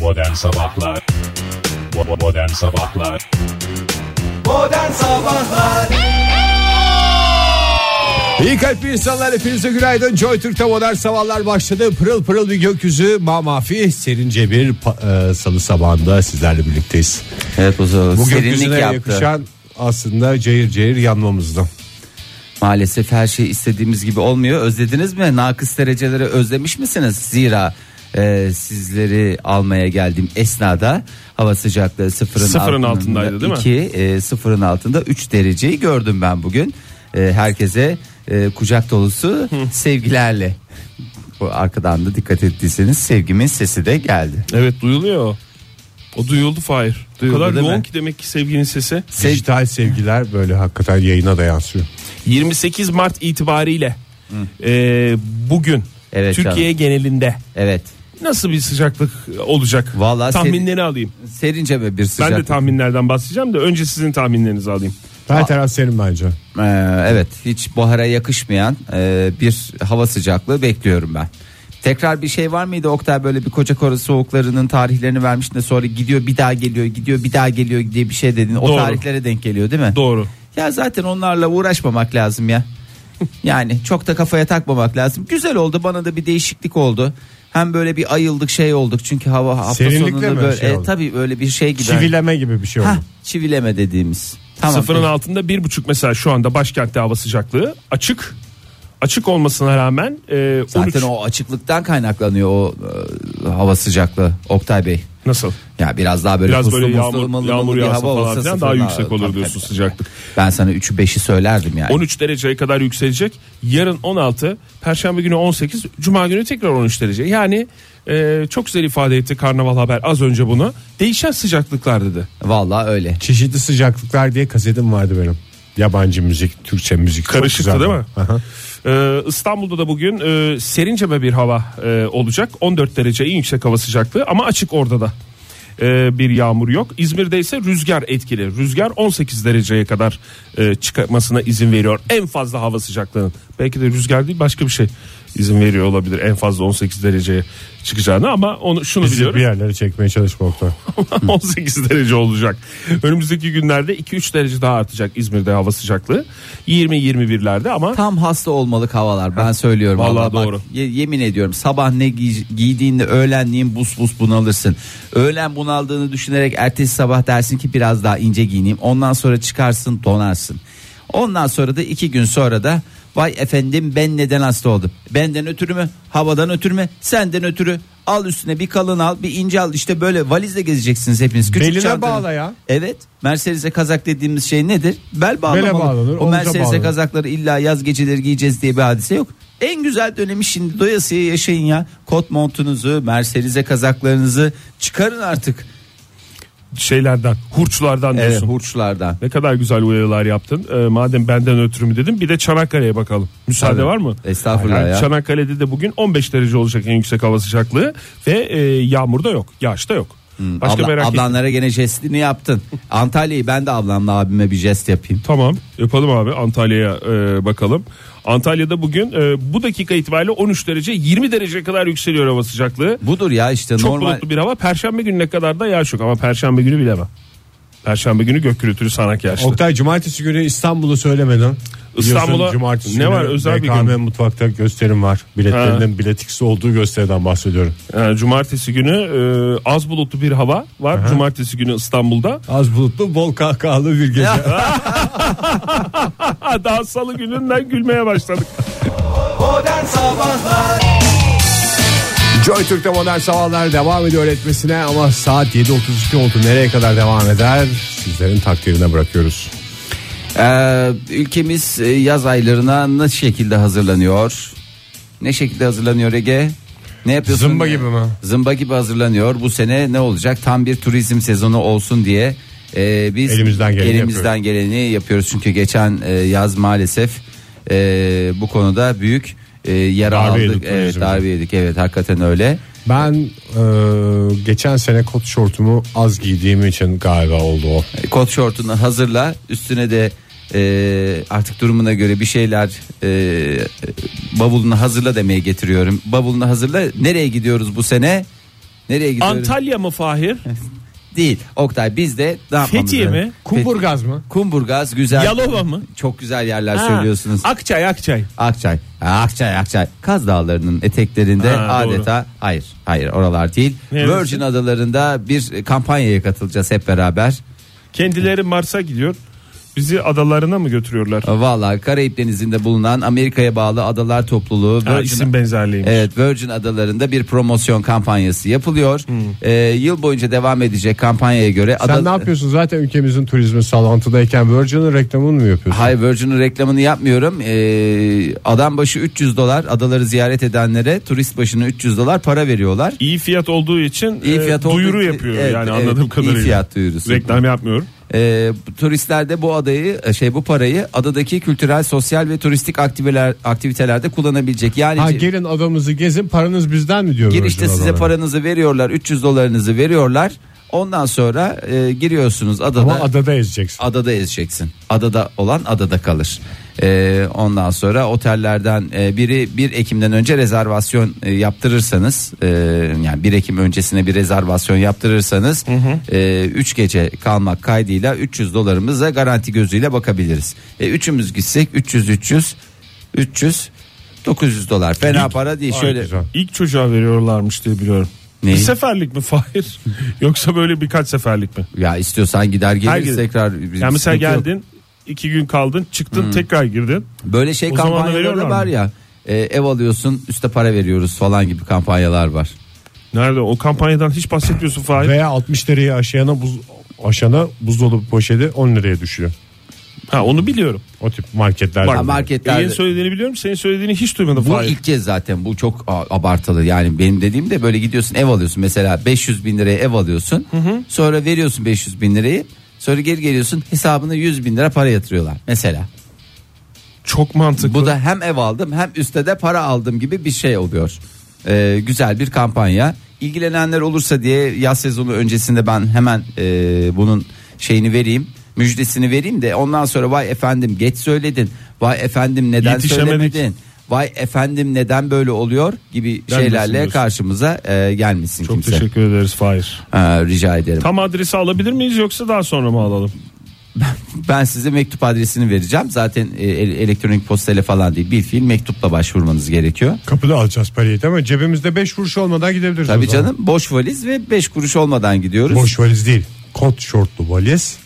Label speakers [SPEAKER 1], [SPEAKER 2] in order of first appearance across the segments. [SPEAKER 1] Modern Sabahlar Bo- Modern Sabahlar
[SPEAKER 2] Modern Sabahlar İyi kalpli insanlar hepinize günaydın Joy Türk'te modern sabahlar başladı Pırıl pırıl bir gökyüzü mamafi Serince bir pa- e, salı sabahında Sizlerle birlikteyiz
[SPEAKER 3] Evet bu zor-
[SPEAKER 2] Bu
[SPEAKER 3] serinlik
[SPEAKER 2] gökyüzüne
[SPEAKER 3] yaptı.
[SPEAKER 2] yakışan aslında cayır cayır yanmamızda
[SPEAKER 3] Maalesef her şey istediğimiz gibi olmuyor. Özlediniz mi? Nakıs dereceleri özlemiş misiniz? Zira e, sizleri almaya geldiğim esnada hava sıcaklığı sıfırın,
[SPEAKER 4] Sıfırın altındaydı, değil mi?
[SPEAKER 3] iki, e, sıfırın altında 3 dereceyi gördüm ben bugün. E, herkese e, kucak dolusu sevgilerle. Bu arkadan da dikkat ettiyseniz sevgimin sesi de geldi.
[SPEAKER 4] Evet duyuluyor o. O duyuldu Fahir. O
[SPEAKER 3] Duyuldu,
[SPEAKER 4] kadar
[SPEAKER 3] değil
[SPEAKER 4] yoğun
[SPEAKER 3] mi?
[SPEAKER 4] ki demek ki sevginin sesi.
[SPEAKER 3] Sev-
[SPEAKER 2] Dijital sevgiler böyle hakikaten yayına da yansıyor
[SPEAKER 4] 28 Mart itibariyle e, bugün
[SPEAKER 3] Evet
[SPEAKER 4] Türkiye genelinde
[SPEAKER 3] evet.
[SPEAKER 4] nasıl bir sıcaklık olacak?
[SPEAKER 3] Vallahi
[SPEAKER 4] Tahminleri alayım.
[SPEAKER 3] Serince ve bir sıcaklık.
[SPEAKER 4] Ben de tahminlerden bahsedeceğim de önce sizin tahminlerinizi alayım.
[SPEAKER 2] Her taraf serin bence
[SPEAKER 3] Ee, evet hiç bahara yakışmayan e, bir hava sıcaklığı bekliyorum ben. Tekrar bir şey var mıydı Oktay böyle bir koca kora soğuklarının tarihlerini vermiştin de sonra gidiyor bir daha geliyor gidiyor bir daha geliyor diye bir şey dedin. O
[SPEAKER 4] Doğru.
[SPEAKER 3] tarihlere denk geliyor değil mi?
[SPEAKER 4] Doğru.
[SPEAKER 3] Ya zaten onlarla uğraşmamak lazım ya. Yani çok da kafaya takmamak lazım. Güzel oldu bana da bir değişiklik oldu. Hem böyle bir ayıldık şey olduk çünkü hava hafta
[SPEAKER 2] Serinlikle mi
[SPEAKER 3] sonunda böyle
[SPEAKER 2] şey
[SPEAKER 3] e,
[SPEAKER 2] oldu?
[SPEAKER 3] tabii böyle bir şey gibi.
[SPEAKER 2] Çivileme gibi bir şey
[SPEAKER 3] Hah,
[SPEAKER 2] oldu
[SPEAKER 3] çivileme dediğimiz.
[SPEAKER 4] Sıfırın altında bir buçuk mesela şu anda başkentte hava sıcaklığı açık. Açık olmasına rağmen e, 13
[SPEAKER 3] Zaten o açıklıktan kaynaklanıyor o e, hava sıcaklığı Oktay Bey.
[SPEAKER 4] nasıl?
[SPEAKER 3] Ya biraz daha böyle
[SPEAKER 4] Biraz
[SPEAKER 3] puslu
[SPEAKER 4] böyle
[SPEAKER 3] muslu,
[SPEAKER 4] yağmur,
[SPEAKER 3] mıllı
[SPEAKER 4] yağmur
[SPEAKER 3] mıllı bir
[SPEAKER 4] yağsa
[SPEAKER 3] hava
[SPEAKER 4] falan
[SPEAKER 3] olsa
[SPEAKER 4] filan daha
[SPEAKER 3] sıfırın
[SPEAKER 4] yüksek
[SPEAKER 3] altı.
[SPEAKER 4] olur
[SPEAKER 3] Tabii,
[SPEAKER 4] diyorsun
[SPEAKER 3] tabii.
[SPEAKER 4] sıcaklık.
[SPEAKER 3] Ben sana 3'ü 5'i söylerdim yani.
[SPEAKER 4] 13 dereceye kadar yükselecek. Yarın 16, perşembe günü 18, cuma günü tekrar 13 derece. Yani e, çok güzel ifade etti Karnaval Haber az önce bunu. Değişen sıcaklıklar dedi.
[SPEAKER 3] Vallahi öyle.
[SPEAKER 2] Çeşitli sıcaklıklar diye kasetim vardı benim Yabancı müzik, Türkçe müzik Çok
[SPEAKER 4] Karışıktı
[SPEAKER 2] güzel.
[SPEAKER 4] değil mi?
[SPEAKER 2] Aha.
[SPEAKER 4] E, İstanbul'da da bugün e, serinceme bir hava e, olacak. 14 derece en yüksek hava sıcaklığı ama açık orada da. E, bir yağmur yok. İzmir'de ise rüzgar etkili. Rüzgar 18 dereceye kadar e, çıkmasına izin veriyor. En fazla hava sıcaklığının. Belki de rüzgar değil başka bir şey izin veriyor olabilir. En fazla 18 dereceye çıkacağını ama onu şunu
[SPEAKER 2] Bizi
[SPEAKER 4] biliyorum.
[SPEAKER 2] bir yerlere çekmeye çalışma Oktay.
[SPEAKER 4] 18 derece olacak. Önümüzdeki günlerde 2-3 derece daha artacak İzmir'de hava sıcaklığı. 20-21'lerde ama
[SPEAKER 3] Tam hasta olmalık havalar ben söylüyorum.
[SPEAKER 4] Vallahi
[SPEAKER 3] bak,
[SPEAKER 4] doğru.
[SPEAKER 3] ye- yemin ediyorum sabah ne giy- giydiğinde öğlenliğin bus bus bunalırsın. Öğlen bunaldığını düşünerek ertesi sabah dersin ki biraz daha ince giyineyim. Ondan sonra çıkarsın donarsın. Ondan sonra da iki gün sonra da vay efendim ben neden hasta oldum? Benden ötürü mü? Havadan ötürü mü? Senden ötürü. Al üstüne bir kalın al bir ince al işte böyle valizle gezeceksiniz hepiniz. Küçük
[SPEAKER 2] Beline
[SPEAKER 3] çantanın-
[SPEAKER 2] bağla ya.
[SPEAKER 3] Evet. Mercedes'e kazak dediğimiz şey nedir? Bel bağlamalı.
[SPEAKER 2] Bele bağlanır,
[SPEAKER 3] o
[SPEAKER 2] omuza
[SPEAKER 3] Mercedes'e
[SPEAKER 2] bağlanır.
[SPEAKER 3] kazakları illa yaz geceleri giyeceğiz diye bir hadise yok. En güzel dönemi şimdi doyasıya yaşayın ya. Kot montunuzu, Mercedes'e kazaklarınızı çıkarın artık.
[SPEAKER 4] şeylerden, hurçlardan
[SPEAKER 3] Evet,
[SPEAKER 4] diyorsun.
[SPEAKER 3] hurçlardan.
[SPEAKER 4] Ne kadar güzel uyarılar yaptın. Ee, madem benden ötürü mü dedim. Bir de Çanakkale'ye bakalım. Müsaade
[SPEAKER 3] Tabii.
[SPEAKER 4] var mı?
[SPEAKER 3] Estağfurullah ya.
[SPEAKER 4] Çanakkale'de de bugün 15 derece olacak en yüksek hava sıcaklığı ve e, yağmur da yok. Yağış da yok. Başka
[SPEAKER 3] Hmm, Abla-
[SPEAKER 4] merak etme.
[SPEAKER 3] ablanlara gene jestini yaptın. Antalya'yı ben de ablamla abime bir jest yapayım.
[SPEAKER 4] Tamam yapalım abi Antalya'ya e, bakalım. Antalya'da bugün e, bu dakika itibariyle 13 derece 20 derece kadar yükseliyor hava sıcaklığı.
[SPEAKER 3] Budur ya işte
[SPEAKER 4] Çok
[SPEAKER 3] normal.
[SPEAKER 4] bulutlu bir hava. Perşembe gününe kadar da yağış yok ama perşembe günü bilemem. Perşembe günü gök gürültülü sanak yağışlı.
[SPEAKER 2] Oktay cumartesi günü İstanbul'u söylemeden.
[SPEAKER 4] İstanbul'a
[SPEAKER 2] Biliyorsun cumartesi
[SPEAKER 4] ne
[SPEAKER 2] günü
[SPEAKER 4] var? Özel bir
[SPEAKER 2] BKM
[SPEAKER 4] gün.
[SPEAKER 2] mutfakta gösterim var. Biletlerinin biletiksi olduğu gösteriden bahsediyorum.
[SPEAKER 4] Ee, cumartesi günü e, az bulutlu bir hava var. Cumartesi günü İstanbul'da.
[SPEAKER 2] Az bulutlu bol kahkahalı bir gece.
[SPEAKER 4] Ha, daha salı gününden gülmeye başladık.
[SPEAKER 2] Modern Sabahlar Joy Türk'te modern sabahlar devam ediyor etmesine ama saat 7.32 oldu. Nereye kadar devam eder? Sizlerin takdirine bırakıyoruz.
[SPEAKER 3] Ee, ülkemiz e, yaz aylarına ne şekilde hazırlanıyor? Ne şekilde hazırlanıyor Ege? Ne yapıyorsun?
[SPEAKER 2] Zımba gibi mi?
[SPEAKER 3] Zımba gibi hazırlanıyor. Bu sene ne olacak? Tam bir turizm sezonu olsun diye e, biz
[SPEAKER 2] Elimizden geleni
[SPEAKER 3] elimizden geleni yapıyoruz. Çünkü geçen e, yaz maalesef e, bu konuda büyük e, yara
[SPEAKER 2] Darbe
[SPEAKER 3] aldık.
[SPEAKER 2] yedik
[SPEAKER 3] evet,
[SPEAKER 2] turizmde.
[SPEAKER 3] darbe yedik. Evet, hakikaten öyle.
[SPEAKER 2] Ben e, geçen sene kot şortumu az giydiğim için galiba oldu o.
[SPEAKER 3] E, kot şortunu hazırla üstüne de e, artık durumuna göre bir şeyler e, e, bavulunu hazırla demeye getiriyorum. Bavulunu hazırla nereye gidiyoruz bu sene? Nereye gidiyoruz?
[SPEAKER 4] Antalya mı Fahir?
[SPEAKER 3] Değil. Oktay biz de ne yapmamız
[SPEAKER 4] Fethiye
[SPEAKER 3] lazım?
[SPEAKER 4] mi?
[SPEAKER 5] Kumburgaz mı?
[SPEAKER 3] Kumburgaz güzel.
[SPEAKER 4] Yalova mı?
[SPEAKER 3] Çok güzel yerler
[SPEAKER 4] Ha,
[SPEAKER 3] söylüyorsunuz.
[SPEAKER 4] Akçay Akçay.
[SPEAKER 3] Akçay. Ha, Akçay, Akçay. Kaz Dağları'nın eteklerinde
[SPEAKER 4] Ha, doğru.
[SPEAKER 3] adeta hayır, hayır oralar değil.
[SPEAKER 4] Neresi?
[SPEAKER 3] Virgin Adaları'nda bir kampanyaya katılacağız hep beraber.
[SPEAKER 4] Kendileri Mars'a gidiyor. Bizi adalarına mı götürüyorlar?
[SPEAKER 3] Valla Karayip Denizi'nde bulunan Amerika'ya bağlı adalar topluluğu
[SPEAKER 4] Ha,
[SPEAKER 3] Virgin-
[SPEAKER 4] isim benzerliği.
[SPEAKER 3] Evet Virgin Adaları'nda bir promosyon kampanyası yapılıyor.
[SPEAKER 4] Hmm.
[SPEAKER 3] Ee, yıl boyunca devam edecek kampanyaya göre
[SPEAKER 5] Sen ne yapıyorsun? Zaten ülkemizin turizmi sallantıdayken Virgin'in reklamını mı yapıyorsun?
[SPEAKER 3] Hayır Virgin'in reklamını yapmıyorum. Ee, adam başı 300 dolar adaları ziyaret edenlere turist başına 300 dolar para veriyorlar.
[SPEAKER 4] İyi fiyat olduğu için
[SPEAKER 3] İyi
[SPEAKER 4] e,
[SPEAKER 3] fiyat olduğu
[SPEAKER 4] duyuru
[SPEAKER 3] için-
[SPEAKER 4] yapıyor
[SPEAKER 3] evet,
[SPEAKER 4] yani
[SPEAKER 3] evet,
[SPEAKER 4] anladığım
[SPEAKER 3] iyi
[SPEAKER 4] kadarıyla.
[SPEAKER 3] fiyat duyurusu.
[SPEAKER 4] Reklam yapmıyorum.
[SPEAKER 3] Ee, bu turistler de bu adayı şey bu parayı adadaki kültürel, sosyal ve turistik aktiveler, aktivitelerde kullanabilecek. Yani
[SPEAKER 5] Ha gelin adamızı gezin paranız bizden mi diyor
[SPEAKER 3] girişte
[SPEAKER 5] Virgin
[SPEAKER 3] size
[SPEAKER 5] Adaları?
[SPEAKER 3] paranızı veriyorlar, 300 dolarınızı veriyorlar. Ondan sonra e, giriyorsunuz adada.
[SPEAKER 5] Ama adada ezeceksin.
[SPEAKER 3] adada ezeceksin. Adada olan adada kalır. Ee, ondan sonra otellerden e, biri 1 Ekim'den önce rezervasyon e, yaptırırsanız e, yani 1 Ekim öncesine bir rezervasyon yaptırırsanız 3 gece kalmak kaydıyla 300 dolarımıza garanti gözüyle bakabiliriz. E, üçümüz gitsek 300 300 300 900 dolar fena para değil şöyle
[SPEAKER 5] güzel.
[SPEAKER 4] İlk çocuğa veriyorlarmış diye biliyorum.
[SPEAKER 3] Neyi?
[SPEAKER 4] Bir seferlik mi Fahir? Yoksa böyle birkaç seferlik mi?
[SPEAKER 3] ya istiyorsan gider
[SPEAKER 4] Her
[SPEAKER 3] geliriz
[SPEAKER 4] gün.
[SPEAKER 3] tekrar
[SPEAKER 4] Yani mesela
[SPEAKER 3] Sıkıntı yok. Hmm.
[SPEAKER 4] geldin iki gün kaldın çıktın tekrar girdin.
[SPEAKER 3] Böyle şey
[SPEAKER 4] O zaman da
[SPEAKER 3] kampanyaları
[SPEAKER 4] veriyorlar
[SPEAKER 3] var
[SPEAKER 4] mı?
[SPEAKER 3] ya. e, ev alıyorsun üste para veriyoruz falan gibi kampanyalar var.
[SPEAKER 4] Nerede o kampanyadan hiç bahsetmiyorsun Fahir.
[SPEAKER 5] Veya 60 lirayı aşana buz aşana buzdolabı poşeti 10 liraya düşüyor.
[SPEAKER 4] Ha onu biliyorum.
[SPEAKER 5] O tip marketlerde.
[SPEAKER 3] Ha,
[SPEAKER 4] Ege'nin
[SPEAKER 3] marketlerde.
[SPEAKER 4] söylediğini biliyorum senin söylediğini hiç duymadım
[SPEAKER 3] Bu
[SPEAKER 4] Fahir.
[SPEAKER 3] ilk kez zaten bu çok a- abartılı yani benim dediğim de böyle gidiyorsun ev alıyorsun mesela 500 bin liraya ev alıyorsun sonra veriyorsun 500 bin lirayı sonra geri geliyorsun hesabına 100 bin lira para yatırıyorlar mesela
[SPEAKER 4] Çok mantıklı.
[SPEAKER 3] bu da hem ev aldım hem üstte de para aldım gibi bir şey oluyor Ee, güzel bir kampanya ilgilenenler olursa diye yaz sezonu öncesinde ben hemen e, bunun şeyini vereyim müjdesini vereyim de ondan sonra vay efendim geç söyledin vay efendim neden
[SPEAKER 4] Yetişemedik.
[SPEAKER 3] söylemedin vay efendim neden böyle oluyor gibi
[SPEAKER 4] Gelmesin
[SPEAKER 3] şeylerle
[SPEAKER 4] diyorsun.
[SPEAKER 3] karşımıza e, gelmesin
[SPEAKER 4] Çok
[SPEAKER 3] kimse.
[SPEAKER 4] teşekkür ederiz Fahir.
[SPEAKER 3] Ha, rica ederim.
[SPEAKER 4] Tam adresi alabilir miyiz yoksa daha sonra mı alalım?
[SPEAKER 3] Ben size mektup adresini vereceğim. Zaten e, el- elektronik postayla falan değil. Bilfiil mektupla başvurmanız gerekiyor.
[SPEAKER 5] Kapıda alacağız parayı ama cebimizde 5 kuruş olmadan gidebiliriz. o
[SPEAKER 3] Tabii
[SPEAKER 5] zaman.
[SPEAKER 3] canım boş valiz ve 5 kuruş olmadan gidiyoruz.
[SPEAKER 5] Boş valiz değil. Kot şortlu valiz.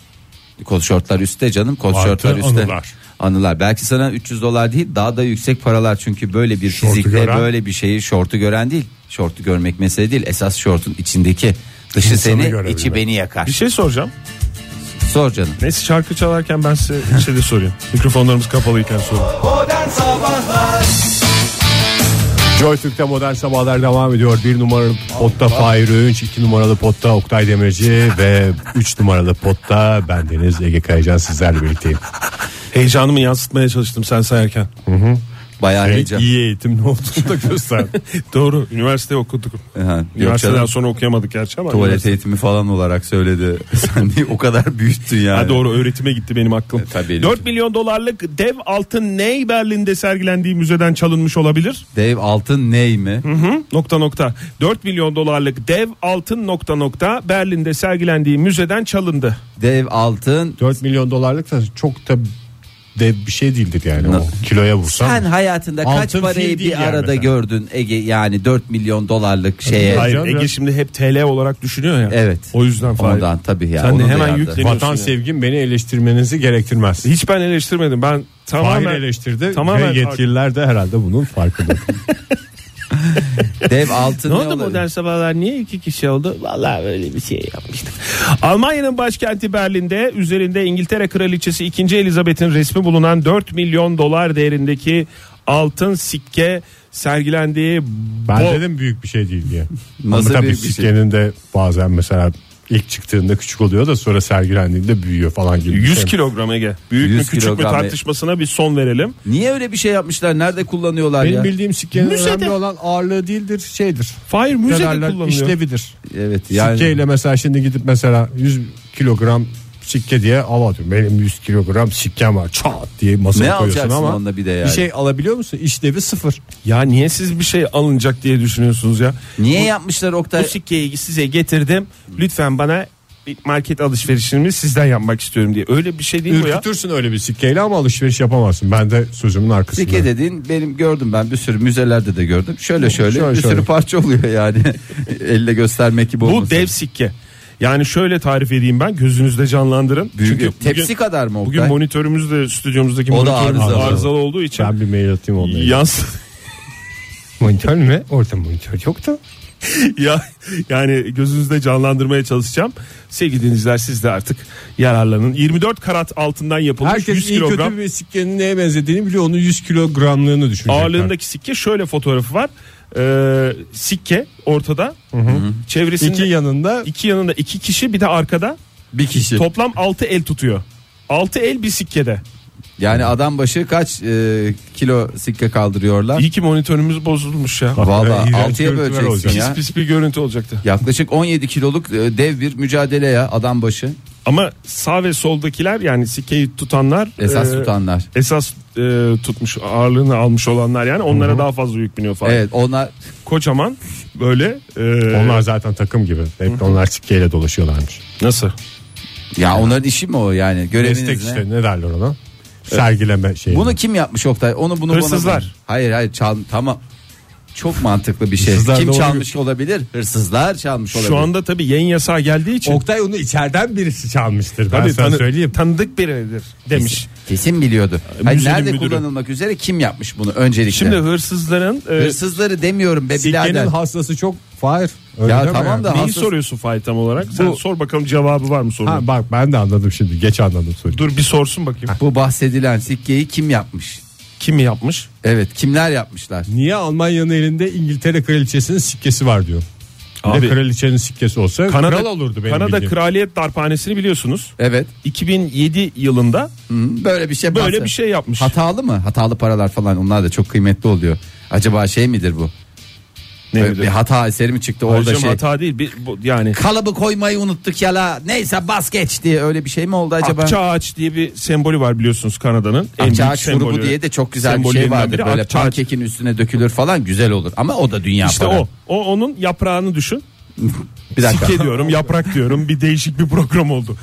[SPEAKER 3] Kot şortlar üstte canım kot
[SPEAKER 5] Artı
[SPEAKER 3] şortlar üstte.
[SPEAKER 5] anılar.
[SPEAKER 3] Anılar. Belki sana 300 dolar değil daha da yüksek paralar çünkü böyle bir
[SPEAKER 5] Şortu
[SPEAKER 3] fizikte
[SPEAKER 5] gören.
[SPEAKER 3] böyle bir şeyi şortu gören değil. Şortu görmek mesele değil esas şortun içindeki dışı
[SPEAKER 5] İnsanı
[SPEAKER 3] seni
[SPEAKER 5] görebilmek.
[SPEAKER 3] içi beni yakar.
[SPEAKER 4] Bir şey soracağım.
[SPEAKER 3] Sor canım.
[SPEAKER 4] Neyse şarkı çalarken ben size bir şey de sorayım. Mikrofonlarımız kapalıyken sorayım.
[SPEAKER 1] Modern Sabahlar
[SPEAKER 5] Joy Türk'te modern sabahlar devam ediyor. Bir numaralı potta Fahir Öğünç, iki numaralı potta Oktay Demirci ve üç numaralı potta bendeniz Ege Kayacan sizlerle birlikteyim.
[SPEAKER 4] Heyecanımı yansıtmaya çalıştım sen sayarken.
[SPEAKER 3] Bayağı heyecan.
[SPEAKER 5] İyi eğitim ne olduğunu da göster.
[SPEAKER 4] Doğru. Üniversite okuduk.
[SPEAKER 3] Aha, yok
[SPEAKER 4] Üniversiteden
[SPEAKER 3] canım.
[SPEAKER 4] sonra okuyamadık gerçi ama.
[SPEAKER 3] Tuvalet
[SPEAKER 4] üniversite-
[SPEAKER 3] eğitimi falan olarak söyledi. Sen niye o kadar büyüttün yani?
[SPEAKER 4] Ha doğru öğretime gitti benim aklım.
[SPEAKER 3] E, tabii.
[SPEAKER 4] 4 milyon dolarlık dev altın ney Berlin'de sergilendiği müzeden çalınmış olabilir?
[SPEAKER 3] Dev altın ney mi?
[SPEAKER 4] Nokta nokta. 4 milyon dolarlık dev altın nokta nokta Berlin'de sergilendiği müzeden çalındı.
[SPEAKER 3] Dev altın
[SPEAKER 5] 4 milyon dolarlık da çok da dev bir şey değildir yani. O
[SPEAKER 3] Nasıl?
[SPEAKER 5] kiloya vursan.
[SPEAKER 3] Sen hayatında kaç
[SPEAKER 5] Altın
[SPEAKER 3] parayı
[SPEAKER 5] fil değil
[SPEAKER 3] bir
[SPEAKER 5] yani
[SPEAKER 3] arada
[SPEAKER 5] mesela.
[SPEAKER 3] gördün Ege yani 4 milyon dolarlık şeye.
[SPEAKER 4] Hayır
[SPEAKER 5] canım
[SPEAKER 4] Ege
[SPEAKER 5] ya.
[SPEAKER 4] şimdi hep TL olarak düşünüyor ya.
[SPEAKER 3] Evet.
[SPEAKER 4] O yüzden falan.
[SPEAKER 3] Ondan tabii ya.
[SPEAKER 4] Sen de
[SPEAKER 3] onu da
[SPEAKER 4] hemen
[SPEAKER 3] yardım.
[SPEAKER 4] yükle-
[SPEAKER 5] Vatan sevgim beni eleştirmenizi gerektirmez.
[SPEAKER 4] Hiç ben eleştirmedim. Ben
[SPEAKER 5] Fahir
[SPEAKER 4] tamamen
[SPEAKER 5] eleştirdi
[SPEAKER 4] tamamen-
[SPEAKER 5] ve yetkililer de herhalde bunun farkında.
[SPEAKER 3] Dev altın
[SPEAKER 4] Ne
[SPEAKER 3] ne
[SPEAKER 4] oldu
[SPEAKER 3] olabilir?
[SPEAKER 4] modern sabahlar niye iki kişi oldu? Vallahi böyle bir şey yapmıştım. Almanya'nın başkenti Berlin'de üzerinde İngiltere Kraliçesi 2. Elizabeth'in resmi bulunan 4 milyon dolar değerindeki altın sikke sergilendiği
[SPEAKER 5] Ben
[SPEAKER 4] bo-
[SPEAKER 5] dedim büyük bir şey değil diye.
[SPEAKER 3] Nasıl
[SPEAKER 5] Ama tabii
[SPEAKER 3] büyük bir şey?
[SPEAKER 5] sikkenin de bazen mesela ilk çıktığında küçük oluyor da sonra sergilendiğinde büyüyor falan gibi. bir
[SPEAKER 4] 100
[SPEAKER 5] şey.
[SPEAKER 4] kilogram Ege. Büyük mü
[SPEAKER 3] 100
[SPEAKER 4] küçük mü
[SPEAKER 3] kilogram ya.
[SPEAKER 4] tartışmasına bir son verelim.
[SPEAKER 3] Niye öyle bir şey yapmışlar? Nerede kullanıyorlar
[SPEAKER 5] Benim
[SPEAKER 3] ya?
[SPEAKER 5] bildiğim sikkenin
[SPEAKER 4] Müzede.
[SPEAKER 5] önemli olan ağırlığı değildir şeydir.
[SPEAKER 4] Fahir müzede
[SPEAKER 5] Müzeler
[SPEAKER 4] kullanılıyor.
[SPEAKER 5] işlevidir.
[SPEAKER 3] Evet yani.
[SPEAKER 5] Sikkeyle mesela şimdi gidip mesela 100 kilogram sikke diye al atıyorum. Benim 100 kilogram sikkem var çat diye
[SPEAKER 3] Ne
[SPEAKER 5] masaya koyuyorsun
[SPEAKER 3] alacaksın
[SPEAKER 5] ama.
[SPEAKER 3] onda bir de yani?
[SPEAKER 5] Bir şey alabiliyor musun? İşlevi sıfır.
[SPEAKER 4] Ya niye siz bir şey alınacak diye düşünüyorsunuz ya?
[SPEAKER 3] Niye yapmışlar
[SPEAKER 4] Bu
[SPEAKER 3] Oktay?
[SPEAKER 4] sikkeyi size getirdim. Lütfen bana bir market alışverişimi sizden yapmak istiyorum diye. Öyle bir şey değil bu ya.
[SPEAKER 5] Ürkütürsün öyle bir sikkeyle ama alışveriş yapamazsın. Ben de sözümün arkasındayım.
[SPEAKER 3] Sike dediğin benim gördüm ben bir sürü müzelerde de gördüm. Şöyle şöyle,
[SPEAKER 5] Şöyle
[SPEAKER 3] bir
[SPEAKER 5] şöyle.
[SPEAKER 3] sürü parça oluyor yani. Elle göstermek gibi
[SPEAKER 4] Bu
[SPEAKER 3] olmasın.
[SPEAKER 4] dev sikke. Yani şöyle tarif edeyim ben gözünüzde canlandırın.
[SPEAKER 3] Büyük-
[SPEAKER 4] Çünkü
[SPEAKER 3] tepsi
[SPEAKER 4] bugün,
[SPEAKER 3] kadar mı
[SPEAKER 4] bugün
[SPEAKER 3] Oktay?
[SPEAKER 4] monitörümüzde stüdyomuzdaki
[SPEAKER 3] O da
[SPEAKER 4] monitörümüz
[SPEAKER 3] arızalı.
[SPEAKER 4] arızalı. olduğu için
[SPEAKER 5] Ben bir mail atayım onunla. ilgili.
[SPEAKER 4] yans
[SPEAKER 5] Monitör mü? Orada monitör yok da.
[SPEAKER 4] ya yani gözünüzde canlandırmaya çalışacağım. Sevgili dinleyiciler siz de artık yararlanın. 24 karat altından yapılmış
[SPEAKER 5] Herkes
[SPEAKER 4] 100
[SPEAKER 5] iyi
[SPEAKER 4] kilogram.
[SPEAKER 5] kötü bir sikkenin neye benzediğini biliyor. Onun 100 kilogramlığını düşünecekler.
[SPEAKER 4] Ağırlığındaki sikke şöyle fotoğrafı var. Ee, sikke ortada. Çevresinde
[SPEAKER 5] iki
[SPEAKER 4] iki,
[SPEAKER 5] yanında
[SPEAKER 4] yanında iki kişi bir de arkada.
[SPEAKER 3] bir kişi.
[SPEAKER 4] Toplam 6 el tutuyor. 6 el bir sikkede.
[SPEAKER 3] Yani adam başı kaç e, kilo sikke kaldırıyorlar?
[SPEAKER 4] İyi e, ki monitörümüz bozulmuş ya.
[SPEAKER 5] Hakikaten
[SPEAKER 3] Vallahi
[SPEAKER 5] iğrenç
[SPEAKER 3] altıya
[SPEAKER 5] görüntüler
[SPEAKER 3] böleceksin
[SPEAKER 5] olacak.
[SPEAKER 4] Pis
[SPEAKER 3] ya.
[SPEAKER 4] pis bir görüntü olacaktı.
[SPEAKER 3] Yaklaşık 17 kiloluk e, dev bir mücadele ya adam başı.
[SPEAKER 4] Ama sağ ve soldakiler yani sikkeyi tutanlar
[SPEAKER 3] Esas
[SPEAKER 4] e,
[SPEAKER 3] tutanlar.
[SPEAKER 4] esas e, tutmuş ağırlığını almış olanlar yani onlara daha fazla yük biniyor falan.
[SPEAKER 3] Evet onlar
[SPEAKER 4] Kocaman böyle e,
[SPEAKER 5] onlar zaten takım gibi. Hep onlar sikkeyle dolaşıyorlarmış.
[SPEAKER 4] nasıl?
[SPEAKER 3] ya onların işi mi o yani göreviniz
[SPEAKER 5] Destek
[SPEAKER 3] ne?
[SPEAKER 5] işte ne derler ona? Sergileme şeyi.
[SPEAKER 3] Bunu kim yapmış Oktay? Onu bunu
[SPEAKER 4] Hırsızlar.
[SPEAKER 3] bana. Hayır hayır çal tamam. Çok mantıklı bir şey.
[SPEAKER 5] Hırsızlar
[SPEAKER 3] kim
[SPEAKER 5] doğru.
[SPEAKER 3] çalmış olabilir? Hırsızlar çalmış olabilir.
[SPEAKER 4] Şu anda tabii yayın yasağı geldiği için
[SPEAKER 5] Oktay onu içeriden birisi çalmıştır. Ben
[SPEAKER 4] Tabii
[SPEAKER 5] sana
[SPEAKER 4] tanı-
[SPEAKER 5] söyleyeyim.
[SPEAKER 4] Tanıdık biridir demiş.
[SPEAKER 3] kesin biliyordu. Hayır,
[SPEAKER 4] müzenin
[SPEAKER 3] nerede
[SPEAKER 4] müdürü.
[SPEAKER 3] kullanılmak üzere kim yapmış bunu öncelikle?
[SPEAKER 4] Şimdi hırsızların e,
[SPEAKER 3] hırsızları demiyorum be birader.
[SPEAKER 5] Sikkenin hastası çok fire.
[SPEAKER 3] Ya tamam da
[SPEAKER 4] neyi
[SPEAKER 3] hırsız-
[SPEAKER 4] soruyorsun Fahit tam olarak? Sen sor bakalım cevabı var mı sorunun?
[SPEAKER 5] Ha bak ben de anladım şimdi. Geç anladım soruyu.
[SPEAKER 4] Dur bir sorsun bakayım.
[SPEAKER 3] bu bahsedilen sikkeyi kim yapmış?
[SPEAKER 4] Kim yapmış?
[SPEAKER 3] Evet kimler yapmışlar?
[SPEAKER 5] Niye Almanya'nın elinde İngiltere kraliçesinin sikkesi var diyor. Abi,
[SPEAKER 4] Abi-
[SPEAKER 5] kraliçenin sikkesi olsa kral olurdu benim
[SPEAKER 4] Kanada
[SPEAKER 5] bildiğim.
[SPEAKER 4] Kraliyet Darphanesi'ni biliyorsunuz.
[SPEAKER 3] Evet.
[SPEAKER 4] 2007 yılında
[SPEAKER 3] Hı, Böyle bir şey
[SPEAKER 4] böyle
[SPEAKER 3] bahsed-
[SPEAKER 4] bir şey yapmış.
[SPEAKER 3] Hatalı mı? Hatalı paralar falan onlar da çok kıymetli oluyor. Acaba şey midir bu?
[SPEAKER 4] Ne
[SPEAKER 3] Böyle
[SPEAKER 4] bileyim.
[SPEAKER 3] bir hata eseri mi çıktı orada
[SPEAKER 4] Hocam
[SPEAKER 3] şey?
[SPEAKER 4] hata değil. Bir, bu, yani
[SPEAKER 3] Kalıbı koymayı unuttuk ya la. Neyse bas geç diye öyle bir şey mi oldu acaba?
[SPEAKER 4] Akça ağaç diye bir sembolü var biliyorsunuz Kanada'nın. En
[SPEAKER 3] Akça
[SPEAKER 4] büyük
[SPEAKER 3] ağaç grubu
[SPEAKER 4] sembolü.
[SPEAKER 3] diye de çok güzel bir şey
[SPEAKER 4] Sembollerinden
[SPEAKER 3] vardır.
[SPEAKER 4] biri
[SPEAKER 3] Böyle
[SPEAKER 4] akça ağaç.
[SPEAKER 3] pankekin üstüne dökülür falan güzel olur. Ama o da dünya
[SPEAKER 4] İşte
[SPEAKER 3] para.
[SPEAKER 4] o. O onun yaprağını düşün.
[SPEAKER 3] Bir dakika.
[SPEAKER 4] Sike diyorum, yaprak diyorum. Bir değişik bir program oldu.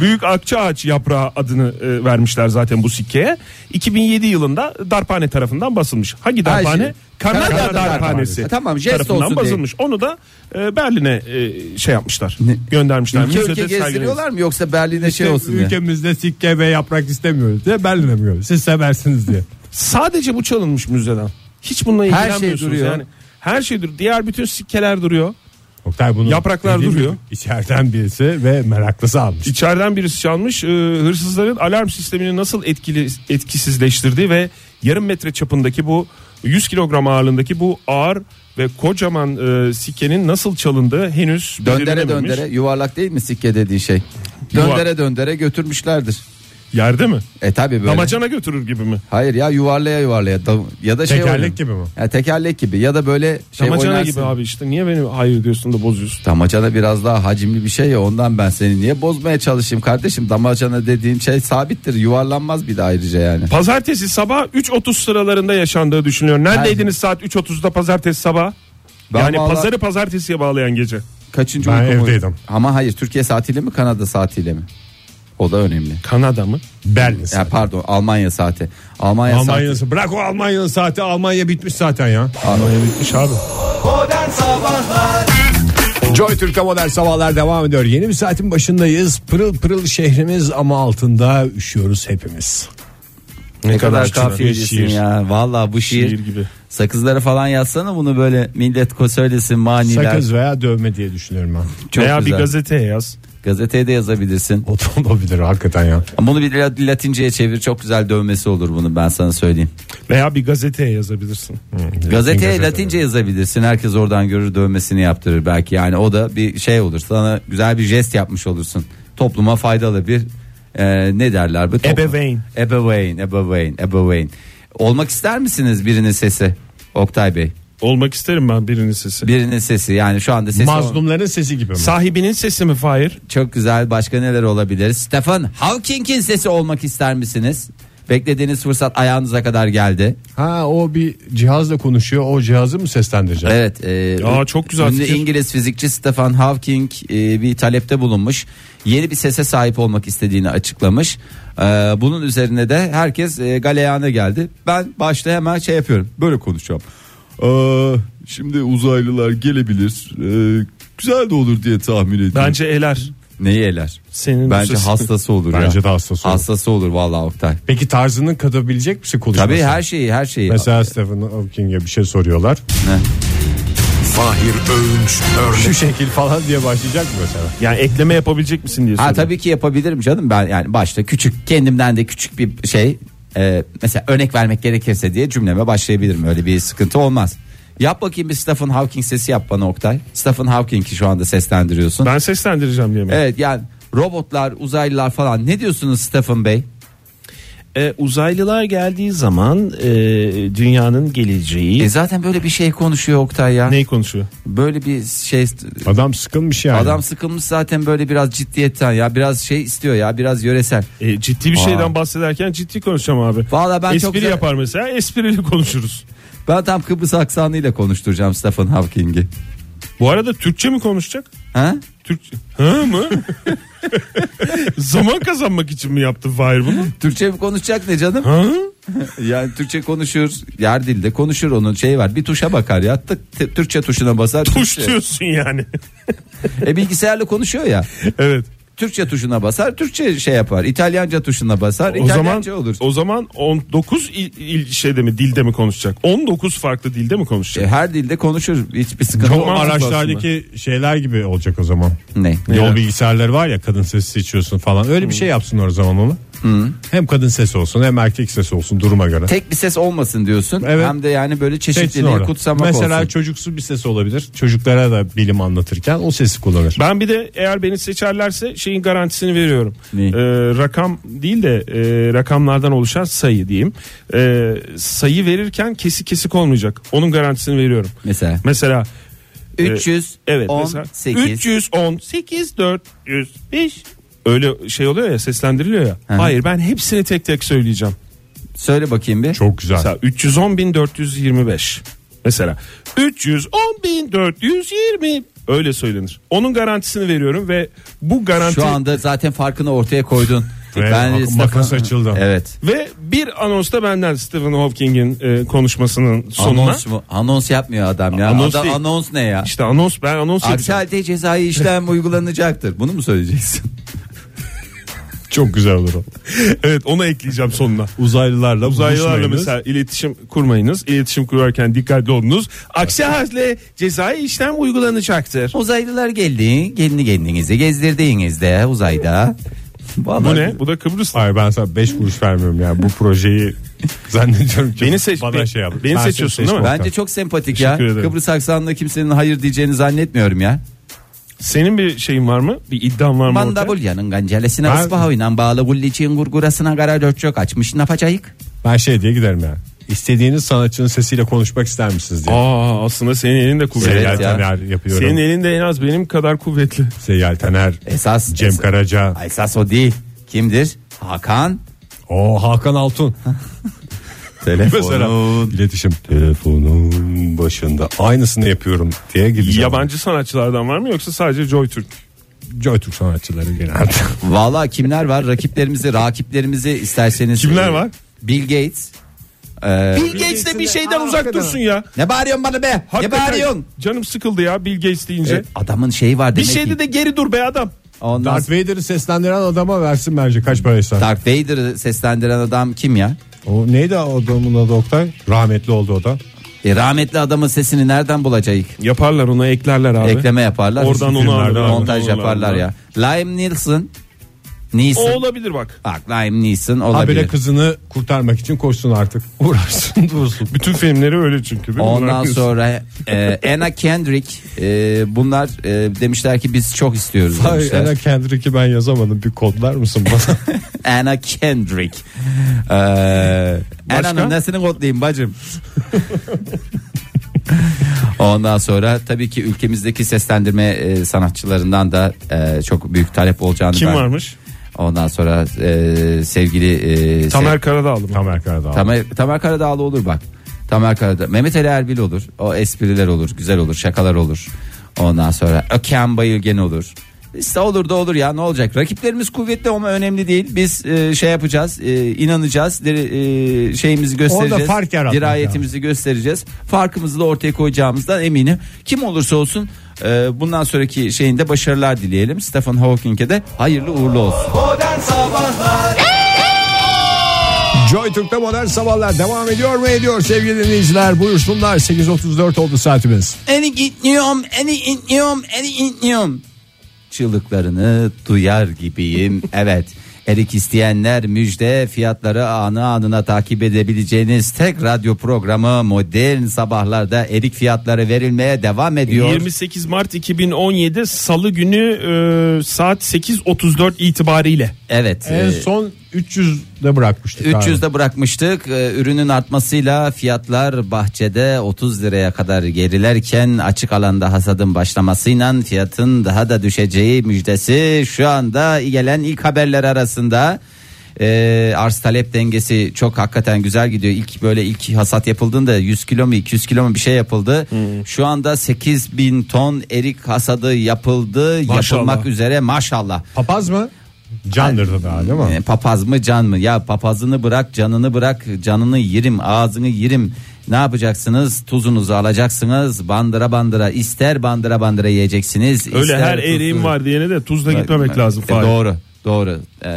[SPEAKER 4] Büyük akça ağaç yaprağı adını e, vermişler zaten bu sikkeye. 2007 yılında darphane tarafından basılmış. Hangi
[SPEAKER 3] Ha,
[SPEAKER 4] darphane?
[SPEAKER 3] şimdi-
[SPEAKER 4] Kanada,
[SPEAKER 3] Kanada
[SPEAKER 4] darphanesi.
[SPEAKER 3] şey. darphanesi. E, Tamam, jest
[SPEAKER 4] tarafından
[SPEAKER 3] olsun diye.
[SPEAKER 4] basılmış. Onu da e, Berlin'e e, şey yapmışlar.
[SPEAKER 3] Ne?
[SPEAKER 4] Göndermişler.
[SPEAKER 3] Ülke
[SPEAKER 4] Müzede
[SPEAKER 3] ülke
[SPEAKER 4] sergileniyor.
[SPEAKER 3] gezdiriyorlar mı yoksa Berlin'e şey olsun diye.
[SPEAKER 5] Ülkemizde sikke ve yaprak istemiyoruz diye ben demiyorum. Siz seversiniz diye.
[SPEAKER 4] Sadece bu çalınmış müzeden. Hiç bununla
[SPEAKER 3] şey
[SPEAKER 4] ilgilenmiyorsunuz.
[SPEAKER 3] duruyor.
[SPEAKER 4] Yani her şey duruyor. Diğer bütün sikkeler duruyor.
[SPEAKER 5] Oktay bunu
[SPEAKER 4] Yapraklar
[SPEAKER 5] dediğim
[SPEAKER 4] duruyor.
[SPEAKER 5] gibi İçeriden birisi ve meraklısı almış.
[SPEAKER 4] İçeriden birisi çalmış. Ee, hırsızların alarm sistemini nasıl etkili etkisizleştirdiği ve yarım metre çapındaki bu 100 kilogram ağırlığındaki bu ağır ve kocaman e, sikenin nasıl çalındığı henüz
[SPEAKER 3] Döndere
[SPEAKER 4] belirlenememiş.
[SPEAKER 3] döndere yuvarlak değil mi sikke dediğin şey?
[SPEAKER 4] Yuvar-
[SPEAKER 3] Döndere döndere götürmüşlerdir.
[SPEAKER 4] yerde mi?
[SPEAKER 3] E tabi böyle.
[SPEAKER 4] Damacana götürür gibi mi?
[SPEAKER 3] Hayır ya yuvarlaya yuvarlaya Da- ya da şey
[SPEAKER 5] Tekerlek
[SPEAKER 3] oynuyor.
[SPEAKER 5] gibi mi?
[SPEAKER 3] Ya tekerlek gibi ya da böyle şey
[SPEAKER 4] Damacana
[SPEAKER 3] oynarsın.
[SPEAKER 4] gibi abi işte niye beni hayır diyorsun da bozuyorsun?
[SPEAKER 3] Damacana biraz daha hacimli bir şey ya ondan ben seni niye bozmaya çalışayım kardeşim damacana dediğim şey sabittir yuvarlanmaz bir de ayrıca yani.
[SPEAKER 4] Pazartesi sabah 3.30 sıralarında yaşandığı düşünülüyor. Neredeydiniz saat 3.30'da pazartesi sabah?
[SPEAKER 3] Ben
[SPEAKER 4] yani
[SPEAKER 3] vallahi-
[SPEAKER 4] pazarı pazartesiye bağlayan gece.
[SPEAKER 3] Kaçıncı
[SPEAKER 5] Ben
[SPEAKER 3] uykumu-
[SPEAKER 5] evdeydim.
[SPEAKER 3] Ama hayır Türkiye saatiyle mi Kanada saatiyle mi? O da önemli.
[SPEAKER 4] Kanada mı?
[SPEAKER 5] Berlin.
[SPEAKER 3] Ya pardon Almanya saati. Almanya,
[SPEAKER 5] Almanya'nın
[SPEAKER 3] saati.
[SPEAKER 5] saati. Bırak o Almanya'nın saati. Almanya bitmiş zaten ya.
[SPEAKER 4] Almanya bitmiş abi.
[SPEAKER 1] Modern Sabahlar
[SPEAKER 5] Joy Türk'te modern sabahlar devam ediyor. Yeni bir saatin başındayız. Pırıl pırıl şehrimiz ama altında üşüyoruz hepimiz.
[SPEAKER 3] Ne kadar
[SPEAKER 4] şiir.
[SPEAKER 3] kafiyecisin
[SPEAKER 4] Şiir.
[SPEAKER 3] ya. Valla bu şiir,
[SPEAKER 4] Şiir gibi.
[SPEAKER 3] Sakızlara falan yazsana bunu böyle millet ko- söylesin maniler.
[SPEAKER 5] Sakız veya dövme diye düşünüyorum ben.
[SPEAKER 3] Çok
[SPEAKER 4] Veya
[SPEAKER 3] güzel.
[SPEAKER 4] bir gazeteye yaz.
[SPEAKER 3] Gazeteye de yazabilirsin.
[SPEAKER 5] O da olabilir hakikaten ya.
[SPEAKER 3] Ama Bunu bir la- Latince'ye çevir çok güzel dövmesi olur bunu ben sana söyleyeyim.
[SPEAKER 4] Veya bir gazeteye yazabilirsin.
[SPEAKER 3] Gazeteye Latince yazabilirsin. Herkes oradan görür dövmesini yaptırır belki. Yani o da bir şey olur. Sana güzel bir jest yapmış olursun. Topluma faydalı bir e, ne derler bu? Toplum-
[SPEAKER 4] Ebeveyn.
[SPEAKER 3] Ebeveyn, ebeveyn, ebeveyn. Olmak ister misiniz birinin sesi? Oktay Bey.
[SPEAKER 4] Olmak isterim ben birinin sesi.
[SPEAKER 3] Birinin sesi yani şu anda sesi
[SPEAKER 5] Mazlumların sesi gibi mi?
[SPEAKER 4] Sahibinin sesi mi Fahir?
[SPEAKER 3] çok güzel. Başka neler olabilir? Stephen Hawking'in sesi olmak ister misiniz? Beklediğiniz fırsat ayağınıza kadar geldi.
[SPEAKER 5] ha o bir cihazla konuşuyor. O cihazı mı seslendireceğim?
[SPEAKER 3] Evet. E,
[SPEAKER 4] Ya, çok güzel
[SPEAKER 3] ünlü
[SPEAKER 4] fikir.
[SPEAKER 3] İngiliz fizikçi Stephen Hawking e, bir talepte bulunmuş. Yeni bir sese sahip olmak istediğini açıklamış. E, bunun üzerine de herkes e, galeyana geldi. Ben başta hemen şey yapıyorum. Böyle konuşacağım. Ee, şimdi uzaylılar gelebilir. Ee, güzel de olur diye tahmin ediyorum.
[SPEAKER 4] Bence eler.
[SPEAKER 3] Neyi eler?
[SPEAKER 4] Senin bu
[SPEAKER 3] Bence
[SPEAKER 4] sesin.
[SPEAKER 3] hastası olur ya.
[SPEAKER 5] Bence de hastası olur.
[SPEAKER 3] Hastası olur vallahi Oktay.
[SPEAKER 5] Peki tarzını katabilecek misin konuşması?
[SPEAKER 3] Tabii her şeyi her şeyi.
[SPEAKER 5] Mesela Stephen Hawking'e bir şey soruyorlar.
[SPEAKER 2] Fahir Öğünç
[SPEAKER 5] Şu şekil falan diye başlayacak mı mesela?
[SPEAKER 4] Yani ekleme yapabilecek misin diye
[SPEAKER 3] Ha
[SPEAKER 4] soruyorum.
[SPEAKER 3] tabii ki yapabilirim canım ben yani başta küçük kendimden de küçük bir şey e, mesela örnek vermek gerekirse diye cümleme başlayabilirim öyle bir sıkıntı olmaz. Yap bakayım bir Stephen Hawking sesi yap bana Oktay. Stephen Hawking'i şu anda seslendiriyorsun.
[SPEAKER 4] Ben seslendireceğim diye mi?
[SPEAKER 3] Evet yani robotlar uzaylılar falan ne diyorsunuz Stephen Bey?
[SPEAKER 6] E, uzaylılar geldiği zaman e, dünyanın geleceği
[SPEAKER 3] E zaten böyle bir şey konuşuyor Oktay ya.
[SPEAKER 4] Neyi konuşuyor?
[SPEAKER 3] Böyle bir şey
[SPEAKER 5] Adam sıkılmış yani.
[SPEAKER 3] adam sıkılmış zaten böyle biraz ciddiyetten ya biraz şey istiyor ya biraz yöresel.
[SPEAKER 4] E, ciddi bir
[SPEAKER 3] Aa.
[SPEAKER 4] şeyden bahsederken ciddi konuşacağım abi.
[SPEAKER 3] Valla ben
[SPEAKER 4] Espri
[SPEAKER 3] çok güzel-
[SPEAKER 4] yapar mesela esprili konuşuruz.
[SPEAKER 3] ben tam Kıbrıs aksanıyla konuşturacağım Stephen Hawking'i.
[SPEAKER 4] Bu arada Türkçe mi konuşacak?
[SPEAKER 3] Ha?
[SPEAKER 4] Türkçe. Hı mı? Zaman kazanmak için mi yaptı Fahir bunu?
[SPEAKER 3] Türkçe mi konuşacak ne canım?
[SPEAKER 4] Hı?
[SPEAKER 3] Yani Türkçe konuşur, yer dilde konuşur onun şey var. Bir tuşa bakar ya. Tık, t- Türkçe tuşuna basar.
[SPEAKER 4] Tuş
[SPEAKER 3] Türkçe.
[SPEAKER 4] diyorsun yani.
[SPEAKER 3] E bilgisayarla konuşuyor ya.
[SPEAKER 4] evet.
[SPEAKER 3] Türkçe tuşuna basar, Türkçe şey yapar. İtalyanca tuşuna basar,
[SPEAKER 4] O zaman
[SPEAKER 3] İtalyanca olur.
[SPEAKER 4] o zaman 19 il, il- şeyde mi dilde mi konuşacak? 19 farklı dilde mi
[SPEAKER 3] E,
[SPEAKER 4] konuşacak?
[SPEAKER 3] her dilde konuşur. Hiçbir sıkıntı
[SPEAKER 5] Bu
[SPEAKER 4] mantıklı
[SPEAKER 5] araçlardaki şeyler gibi olacak o zaman.
[SPEAKER 3] Ne?
[SPEAKER 5] Yol bilgisayarları var ya kadın sesi seçiyorsun falan. Öyle bir şey yapsınlar o zaman onu. Hem kadın sesi olsun hem erkek sesi olsun duruma göre.
[SPEAKER 3] Tek bir ses olmasın diyorsun.
[SPEAKER 5] Evet.
[SPEAKER 3] Hem de yani böyle
[SPEAKER 5] Seçsin
[SPEAKER 3] çeşitliliği
[SPEAKER 5] orada.
[SPEAKER 3] kutsamak
[SPEAKER 5] Şey, Mesela
[SPEAKER 3] olsun.
[SPEAKER 5] çocuksu bir ses olabilir. Çocuklara da bilim anlatırken o sesi kullanır.
[SPEAKER 4] Ben bir de eğer beni seçerlerse şeyin garantisini veriyorum.
[SPEAKER 3] Ne?
[SPEAKER 4] Ee, rakam değil de e, rakamlardan oluşan sayı diyeyim. Ee, sayı verirken kesik kesik olmayacak. Onun garantisini veriyorum.
[SPEAKER 3] Mesela
[SPEAKER 4] Mesela e,
[SPEAKER 3] 300
[SPEAKER 4] evet mesela
[SPEAKER 3] 18
[SPEAKER 4] 318 405 öyle şey oluyor ya seslendiriliyor ya.
[SPEAKER 3] Hı hı.
[SPEAKER 4] Hayır ben hepsini tek tek söyleyeceğim.
[SPEAKER 3] söyle bakayım bir.
[SPEAKER 5] Çok güzel.
[SPEAKER 4] Mesela 310.425. Mesela 310.420 öyle söylenir. Onun garantisini veriyorum ve bu garanti
[SPEAKER 3] Şu anda zaten farkını ortaya koydun.
[SPEAKER 5] Evet, ak-
[SPEAKER 3] Stephen-
[SPEAKER 5] makas açıldı.
[SPEAKER 3] Evet.
[SPEAKER 4] ve bir anonsta benden Stephen Hawking'in e, konuşmasının sonuna
[SPEAKER 3] Anons mu? Anons yapmıyor adam ya.
[SPEAKER 4] Anons
[SPEAKER 3] Anons,
[SPEAKER 4] değil.
[SPEAKER 3] anons ne ya?
[SPEAKER 4] işte anons ben anons
[SPEAKER 3] Aksi
[SPEAKER 4] yapacağım.
[SPEAKER 3] halde cezai işlem uygulanacaktır. Bunu mu söyleyeceksin?
[SPEAKER 5] Çok güzel olur o.
[SPEAKER 4] evet onu ekleyeceğim sonuna.
[SPEAKER 5] Uzaylılarla
[SPEAKER 4] Uzaylılarla
[SPEAKER 5] buluşmayınız.
[SPEAKER 4] mesela iletişim kurmayınız. İletişim kurarken dikkatli olunuz. Aksi halde cezai işlem uygulanacaktır.
[SPEAKER 3] Uzaylılar geldi. Gelini kendinizi gezdirdiğinizde uzayda. Vallahi-
[SPEAKER 4] Bu ne? Bu da Kıbrıs.
[SPEAKER 5] Hayır ben sana 5 kuruş vermiyorum yani bu projeyi zannediyorum ki
[SPEAKER 4] Beni seç-
[SPEAKER 5] bana
[SPEAKER 4] beni-
[SPEAKER 5] şey yap.
[SPEAKER 4] beni
[SPEAKER 5] Ben seni
[SPEAKER 4] seçiyorsun değil mi?
[SPEAKER 5] seçmem.
[SPEAKER 3] Bence çok sempatik ya.
[SPEAKER 4] Teşekkür ederim.
[SPEAKER 3] Kıbrıs aksanında kimsenin hayır diyeceğini zannetmiyorum ya.
[SPEAKER 4] Senin bir şeyin var mı? Bir iddian var mı? ortaya?
[SPEAKER 3] Mandabulyanın gancelesine
[SPEAKER 5] Ben-
[SPEAKER 3] ıspaha oynan bağlı gulliçin gurgurasına kara dörtçök açmış ne yapacağık?
[SPEAKER 5] Ben şey diye giderim yani. İstediğiniz sanatçının sesiyle konuşmak ister misiniz diye.
[SPEAKER 4] Aa aslında senin elinde kuvvetli.
[SPEAKER 5] Seyyal
[SPEAKER 3] Evet ya.
[SPEAKER 5] Taner yapıyorum.
[SPEAKER 4] Senin elinde en az benim kadar kuvvetli.
[SPEAKER 5] Seyyal Taner,
[SPEAKER 3] Esas
[SPEAKER 5] Cem
[SPEAKER 3] esas,
[SPEAKER 5] Karaca,
[SPEAKER 3] esas o değil. Kimdir? Hakan.
[SPEAKER 5] o Hakan Altun. Mesela iletişim telefonun başında aynısını yapıyorum diye gideceğim.
[SPEAKER 4] Yabancı sanatçılardan var mı yoksa sadece Joy Türk?
[SPEAKER 5] Joytürk sanatçıları genelde.
[SPEAKER 3] Valla kimler var? Rakiplerimizi, rakiplerimizi isterseniz. e,
[SPEAKER 4] Kimler var?
[SPEAKER 3] Bill Gates. Ee,
[SPEAKER 4] Bill Gates de bir şey- şeyden uzak dursun ya.
[SPEAKER 3] ne bağırıyorsun bana be? Ne bağırıyorsun?
[SPEAKER 4] canım sıkıldı ya Bill Gates deyince.
[SPEAKER 3] E, adamın şeyi var
[SPEAKER 4] bir şey
[SPEAKER 3] demek
[SPEAKER 4] şeyde
[SPEAKER 3] ki.
[SPEAKER 4] de geri dur be adam.
[SPEAKER 3] Ondan
[SPEAKER 5] Darth Vader'ı seslendiren adama versin bence kaç paraysa.
[SPEAKER 3] Darth Vader'ı seslendiren adam kim ya?
[SPEAKER 5] O neydi adamın adı Oktay? Rahmetli oldu o da.
[SPEAKER 3] E, rahmetli adamın sesini nereden bulacağız?
[SPEAKER 4] Yaparlar onu eklerler abi.
[SPEAKER 3] Ekleme yaparlar.
[SPEAKER 4] Oradan onu
[SPEAKER 5] Filmlerden
[SPEAKER 4] alırlar.
[SPEAKER 3] montaj
[SPEAKER 4] Onu alırlar.
[SPEAKER 3] yaparlar ya. Liam Neeson. Neeson.
[SPEAKER 4] O olabilir bak.
[SPEAKER 3] Bak Liam Neeson
[SPEAKER 5] Habire
[SPEAKER 3] olabilir.
[SPEAKER 5] kızını kurtarmak için koşsun artık. Uğraşsın dursun.
[SPEAKER 4] Bütün filmleri öyle çünkü. değil mi?
[SPEAKER 3] Ondan
[SPEAKER 4] Bırakıyorsun.
[SPEAKER 3] sonra e, Anna Kendrick e, bunlar e, demişler ki biz çok istiyoruz
[SPEAKER 5] Hayır
[SPEAKER 3] demişler.
[SPEAKER 5] Anna Kendrick'i ben yazamadım. Bir kodlar mısın bana?
[SPEAKER 3] Anna Kendrick. Ee, Anna'nın nesini kodlayayım bacım? Ondan sonra tabii ki ülkemizdeki seslendirme e, sanatçılarından da e, çok büyük talep olacağını
[SPEAKER 4] Kim
[SPEAKER 3] ben-
[SPEAKER 4] varmış?
[SPEAKER 3] Ondan sonra e, sevgili e,
[SPEAKER 4] Tamer Karadağlı mı?
[SPEAKER 5] Tamer Karadağ.
[SPEAKER 3] sev- Tamer, Tamer Karadağlı olur bak. Tamer Karadağlı. Mehmet Ali Erbil olur. O espriler olur. Güzel olur. Şakalar olur. Ondan sonra Öken Bayılgen olur. İşte olur da olur ya ne olacak rakiplerimiz kuvvetli ama önemli değil biz e, şey yapacağız e, inanacağız diri- e, şeyimizi göstereceğiz
[SPEAKER 5] fark yaratmak
[SPEAKER 3] dirayetimizi göstereceğiz farkımızı da ortaya koyacağımızdan eminim kim olursa olsun e, bundan sonraki şeyinde başarılar dileyelim Stephen Hawking'e de hayırlı uğurlu olsun.
[SPEAKER 1] Modern Sabahlar
[SPEAKER 2] Joy Türk'te modern sabahlar devam ediyor mu ediyor sevgili dinleyiciler buyursunlar 8.34 oldu saatimiz.
[SPEAKER 3] Eni gitmiyorum, eni gitmiyorum, eni gitmiyorum. Çığlıklarını duyar gibiyim. evet. Erik isteyenler müjde fiyatları anı anına takip edebileceğiniz tek radyo programı modern sabahlarda erik fiyatları verilmeye devam ediyor.
[SPEAKER 4] 28 Mart 2017 Salı günü e, saat 8.34 itibariyle.
[SPEAKER 3] Evet.
[SPEAKER 5] En
[SPEAKER 3] e,
[SPEAKER 5] son 300'de bırakmıştık.
[SPEAKER 3] 300'de bırakmıştık. Ee, Ürünün artmasıyla fiyatlar bahçede 30 liraya kadar gerilerken açık alanda hasadın başlamasıyla fiyatın daha da düşeceği müjdesi şu anda gelen ilk haberler arasında. Ee, arz talep dengesi çok hakikaten güzel gidiyor. İlk böyle ilk hasat yapıldığında 100 kilo mu 200 kilo mu bir şey yapıldı. Şu anda 8000 ton erik hasadı yapıldı. Yapılmak üzere maşallah.
[SPEAKER 5] Papaz mı? Candırdı daha değil mi?
[SPEAKER 3] E, papaz mı can mı? Ya papazını bırak canını bırak canını yerim ağzını yerim. Ne yapacaksınız? Tuzunuzu alacaksınız. Bandıra bandıra ister bandıra bandıra yiyeceksiniz.
[SPEAKER 4] Öyle
[SPEAKER 3] ister
[SPEAKER 4] her
[SPEAKER 3] tuzlu-
[SPEAKER 4] eriğim var diyene de tuzla gitmemek lazım.
[SPEAKER 3] E,
[SPEAKER 4] Fahir.
[SPEAKER 3] Doğru doğru. E,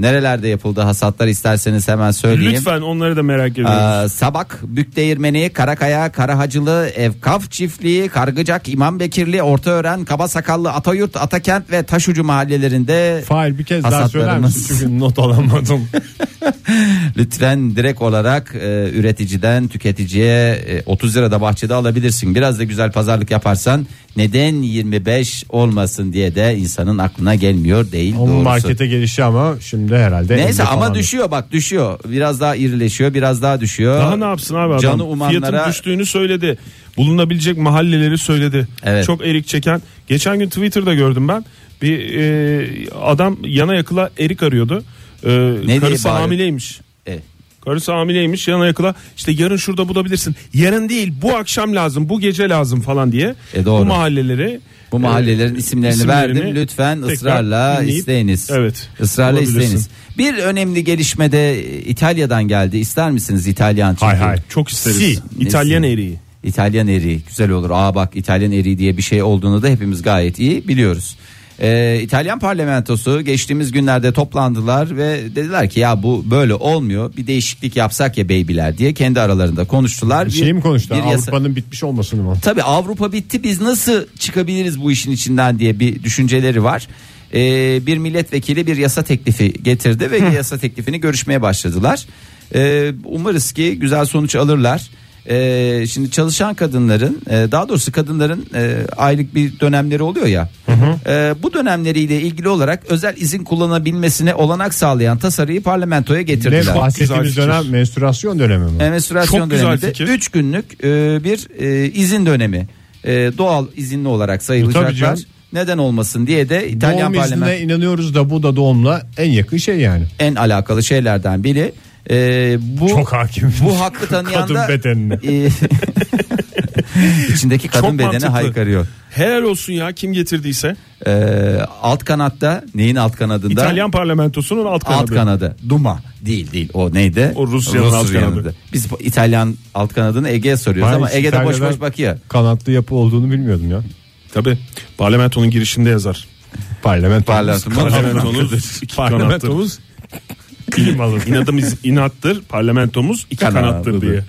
[SPEAKER 3] nerelerde yapıldı hasatlar isterseniz hemen söyleyeyim.
[SPEAKER 4] Lütfen onları da merak ediyoruz.
[SPEAKER 3] Ee, Sabak, Bükdeğirmeni, Karakaya, Karahacılı, Evkaf Çiftliği, Kargıcak, İmam Bekirli, Ortaören, Kabasakallı, Atayurt, Atakent ve Taşucu mahallelerinde
[SPEAKER 5] Fail bir kez daha söyler misin?
[SPEAKER 3] Hasatlarımız.
[SPEAKER 5] Çünkü not alamadım.
[SPEAKER 3] Lütfen direkt olarak e, üreticiden tüketiciye e, 30 lirada bahçede alabilirsin. Biraz da güzel pazarlık yaparsan neden 25 olmasın diye de insanın aklına gelmiyor değil
[SPEAKER 5] Onun
[SPEAKER 3] doğrusu.
[SPEAKER 5] markete gelişi ama şimdi herhalde.
[SPEAKER 3] Neyse
[SPEAKER 5] 50
[SPEAKER 3] ama
[SPEAKER 5] falan.
[SPEAKER 3] düşüyor bak düşüyor. Biraz daha irileşiyor, biraz daha düşüyor.
[SPEAKER 4] Daha ne yapsın abi adam?
[SPEAKER 3] Canı
[SPEAKER 4] Fiyatın
[SPEAKER 3] umanlara
[SPEAKER 4] düştüğünü söyledi. Bulunabilecek mahalleleri söyledi.
[SPEAKER 3] Evet.
[SPEAKER 4] Çok erik çeken. Geçen gün Twitter'da gördüm ben. Bir e, adam yana yakıla erik arıyordu. E,
[SPEAKER 3] diye
[SPEAKER 4] karısı
[SPEAKER 3] bağırıyor?
[SPEAKER 4] hamileymiş.
[SPEAKER 3] E,
[SPEAKER 4] Karısı hamileymiş yana yakıla işte yarın şurada bulabilirsin. Yarın değil bu akşam lazım bu gece lazım falan diye.
[SPEAKER 3] E, doğru.
[SPEAKER 4] Bu mahalleleri.
[SPEAKER 3] bu mahallelerin
[SPEAKER 4] e,
[SPEAKER 3] isimlerini, verdim. Lütfen
[SPEAKER 4] tekrar
[SPEAKER 3] ısrarla
[SPEAKER 4] dinleyip-
[SPEAKER 3] isteyiniz.
[SPEAKER 4] Evet.
[SPEAKER 3] Israrla
[SPEAKER 4] bulabilirsin.
[SPEAKER 3] isteyiniz. Bir önemli gelişme de e, İtalya'dan geldi. İster misiniz İtalyan?
[SPEAKER 5] Hay
[SPEAKER 3] çünkü-
[SPEAKER 5] hay.
[SPEAKER 4] e, Çok isteriz.
[SPEAKER 5] Si.
[SPEAKER 4] İtalyan
[SPEAKER 3] Nesi?
[SPEAKER 4] eriği.
[SPEAKER 3] İtalyan eriği güzel olur. Aa bak İtalyan eriği diye bir şey olduğunu da hepimiz gayet iyi biliyoruz. Ee, İtalyan parlamentosu geçtiğimiz günlerde toplandılar ve dediler ki ya bu böyle olmuyor. Bir değişiklik yapsak ya beybiler diye kendi aralarında konuştular.
[SPEAKER 5] Bir Şey mi konuştular?
[SPEAKER 3] bir yasa-
[SPEAKER 5] Avrupa'nın bitmiş olmasını mı?
[SPEAKER 3] Tabii Avrupa bitti biz nasıl çıkabiliriz bu işin içinden diye bir düşünceleri var. Ee, bir milletvekili bir yasa teklifi getirdi ve yasa teklifini görüşmeye başladılar. Ee, umarız ki güzel sonuç alırlar. Ee, şimdi çalışan kadınların e, daha doğrusu kadınların e, aylık bir dönemleri oluyor ya. Ee, bu dönemleriyle ilgili olarak özel izin kullanabilmesine olanak sağlayan tasarıyı parlamentoya
[SPEAKER 5] Ne
[SPEAKER 3] getirdiler.
[SPEAKER 5] bahsettiğimiz
[SPEAKER 4] güzel
[SPEAKER 3] şey-
[SPEAKER 5] dönem menstruasyon dönemi mi?
[SPEAKER 3] E, menstruasyon
[SPEAKER 4] Çok güzel
[SPEAKER 3] döneminde
[SPEAKER 4] fikir.
[SPEAKER 3] 3 günlük e, bir e, izin dönemi E, doğal izinli olarak
[SPEAKER 4] E,
[SPEAKER 5] Tabii
[SPEAKER 3] sayılacaklar.
[SPEAKER 5] canım.
[SPEAKER 3] Neden olmasın diye de İtalyan
[SPEAKER 5] Doğum
[SPEAKER 3] parlamento
[SPEAKER 5] iznine inanıyoruz da bu da doğumla en yakın şey yani.
[SPEAKER 3] en alakalı şeylerden biri. E, bu
[SPEAKER 5] Çok hakim.
[SPEAKER 3] bu hakkı tanıyan
[SPEAKER 5] Kadın
[SPEAKER 3] da
[SPEAKER 5] bedenine.
[SPEAKER 3] E, içindeki kadın bedeni
[SPEAKER 4] mantıklı.
[SPEAKER 3] haykırıyor.
[SPEAKER 4] Helal olsun ya kim getirdiyse.
[SPEAKER 3] E, alt kanatta neyin alt kanadında?
[SPEAKER 4] İtalyan parlamentosunun alt kanadı.
[SPEAKER 3] alt kanadı. Duma değil değil o neydi?
[SPEAKER 4] O Rusya'nın alt kanadı.
[SPEAKER 3] Biz İtalyan alt kanadını Ege'ye soruyoruz
[SPEAKER 5] Ben
[SPEAKER 3] ama
[SPEAKER 5] hiç
[SPEAKER 3] Ege'de boş
[SPEAKER 5] İtalya'dan
[SPEAKER 3] boş bakıyor.
[SPEAKER 5] Kanatlı yapı olduğunu bilmiyorum ya.
[SPEAKER 4] Tabii. Parlamentonun girişinde yazar.
[SPEAKER 5] Parlamentomuz.
[SPEAKER 3] Parlamentomuz.
[SPEAKER 4] Parlamentomuz iki kanattır.
[SPEAKER 5] Parlamentomuz. Klimalı.
[SPEAKER 4] İnadımız inattır. Parlamentomuz iki
[SPEAKER 3] Kanadı.
[SPEAKER 4] kanattır diye.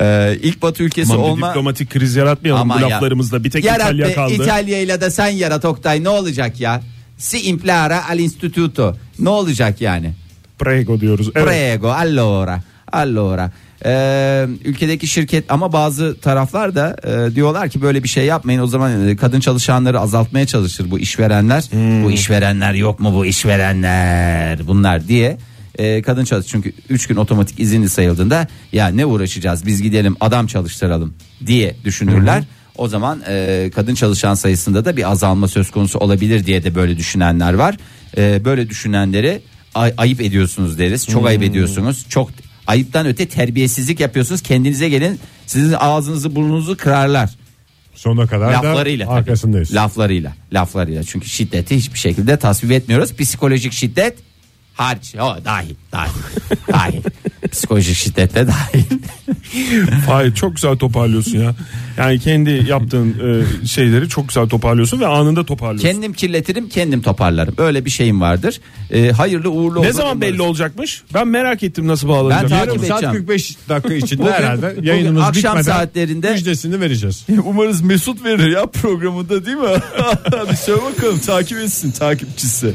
[SPEAKER 3] Ee, ilk Batı ülkesi
[SPEAKER 4] Aman bir
[SPEAKER 3] olma
[SPEAKER 4] diplomatik kriz yaratmayalım
[SPEAKER 3] Aman
[SPEAKER 4] bu
[SPEAKER 3] ya.
[SPEAKER 4] laflarımızda. Bir tek
[SPEAKER 3] Yarat
[SPEAKER 4] İtalya
[SPEAKER 3] be,
[SPEAKER 4] kaldı.
[SPEAKER 3] İtalya'yla da sen yarat Oktay ne olacak ya? Si implara al instituto. Ne olacak yani?
[SPEAKER 4] Prego diyoruz. Evet.
[SPEAKER 3] Prego allora. Allora. Ee, ülkedeki şirket ama bazı taraflar da e, diyorlar ki böyle bir şey yapmayın o zaman e, kadın çalışanları azaltmaya çalışır bu işverenler bu işverenler yok mu bu işverenler bunlar diye e, kadın çalış çünkü 3 gün otomatik izinli sayıldığında ya ne uğraşacağız biz gidelim adam çalıştıralım diye düşünürler. O zaman e, kadın çalışan sayısında da bir azalma söz konusu olabilir diye de böyle düşünenler var. E, böyle düşünenleri ay- ayıp ediyorsunuz deriz. Çok ayıp
[SPEAKER 5] Hmm.
[SPEAKER 3] ediyorsunuz. Çok ayıptan öte terbiyesizlik yapıyorsunuz. Kendinize gelin. Sizin ağzınızı burnunuzu kırarlar
[SPEAKER 5] Sonuna kadar
[SPEAKER 3] laflarıyla
[SPEAKER 5] da
[SPEAKER 3] tabii.
[SPEAKER 5] arkasındayız.
[SPEAKER 3] Laflarıyla, laflarıyla. Çünkü şiddeti hiçbir şekilde tasvip etmiyoruz. Psikolojik şiddet harç. O dahil, dahil. dahil. Psikolojik şiddet de dahil.
[SPEAKER 4] Hayır çok güzel toparlıyorsun ya. Yani kendi yaptığın e, şeyleri çok güzel toparlıyorsun ve anında toparlıyorsun.
[SPEAKER 3] kendim kirletirim, kendim toparlarım. Öyle bir şeyim vardır. Ee, hayırlı uğurlu
[SPEAKER 4] ne zaman belli olacakmış? Ben merak ettim nasıl
[SPEAKER 3] Ben
[SPEAKER 4] bağlanacak.
[SPEAKER 3] takip
[SPEAKER 5] Saat
[SPEAKER 3] edeceğim.
[SPEAKER 5] 45 dakika içinde
[SPEAKER 3] Bugün-
[SPEAKER 5] herhalde
[SPEAKER 3] bugün
[SPEAKER 5] yayınımız
[SPEAKER 3] akşam
[SPEAKER 5] bitmeden
[SPEAKER 3] saatlerinde-
[SPEAKER 5] müjdesini vereceğiz.
[SPEAKER 7] Umarız Mesut verir ya programında değil mi? bir söyle bakalım takip etsin takipçisi.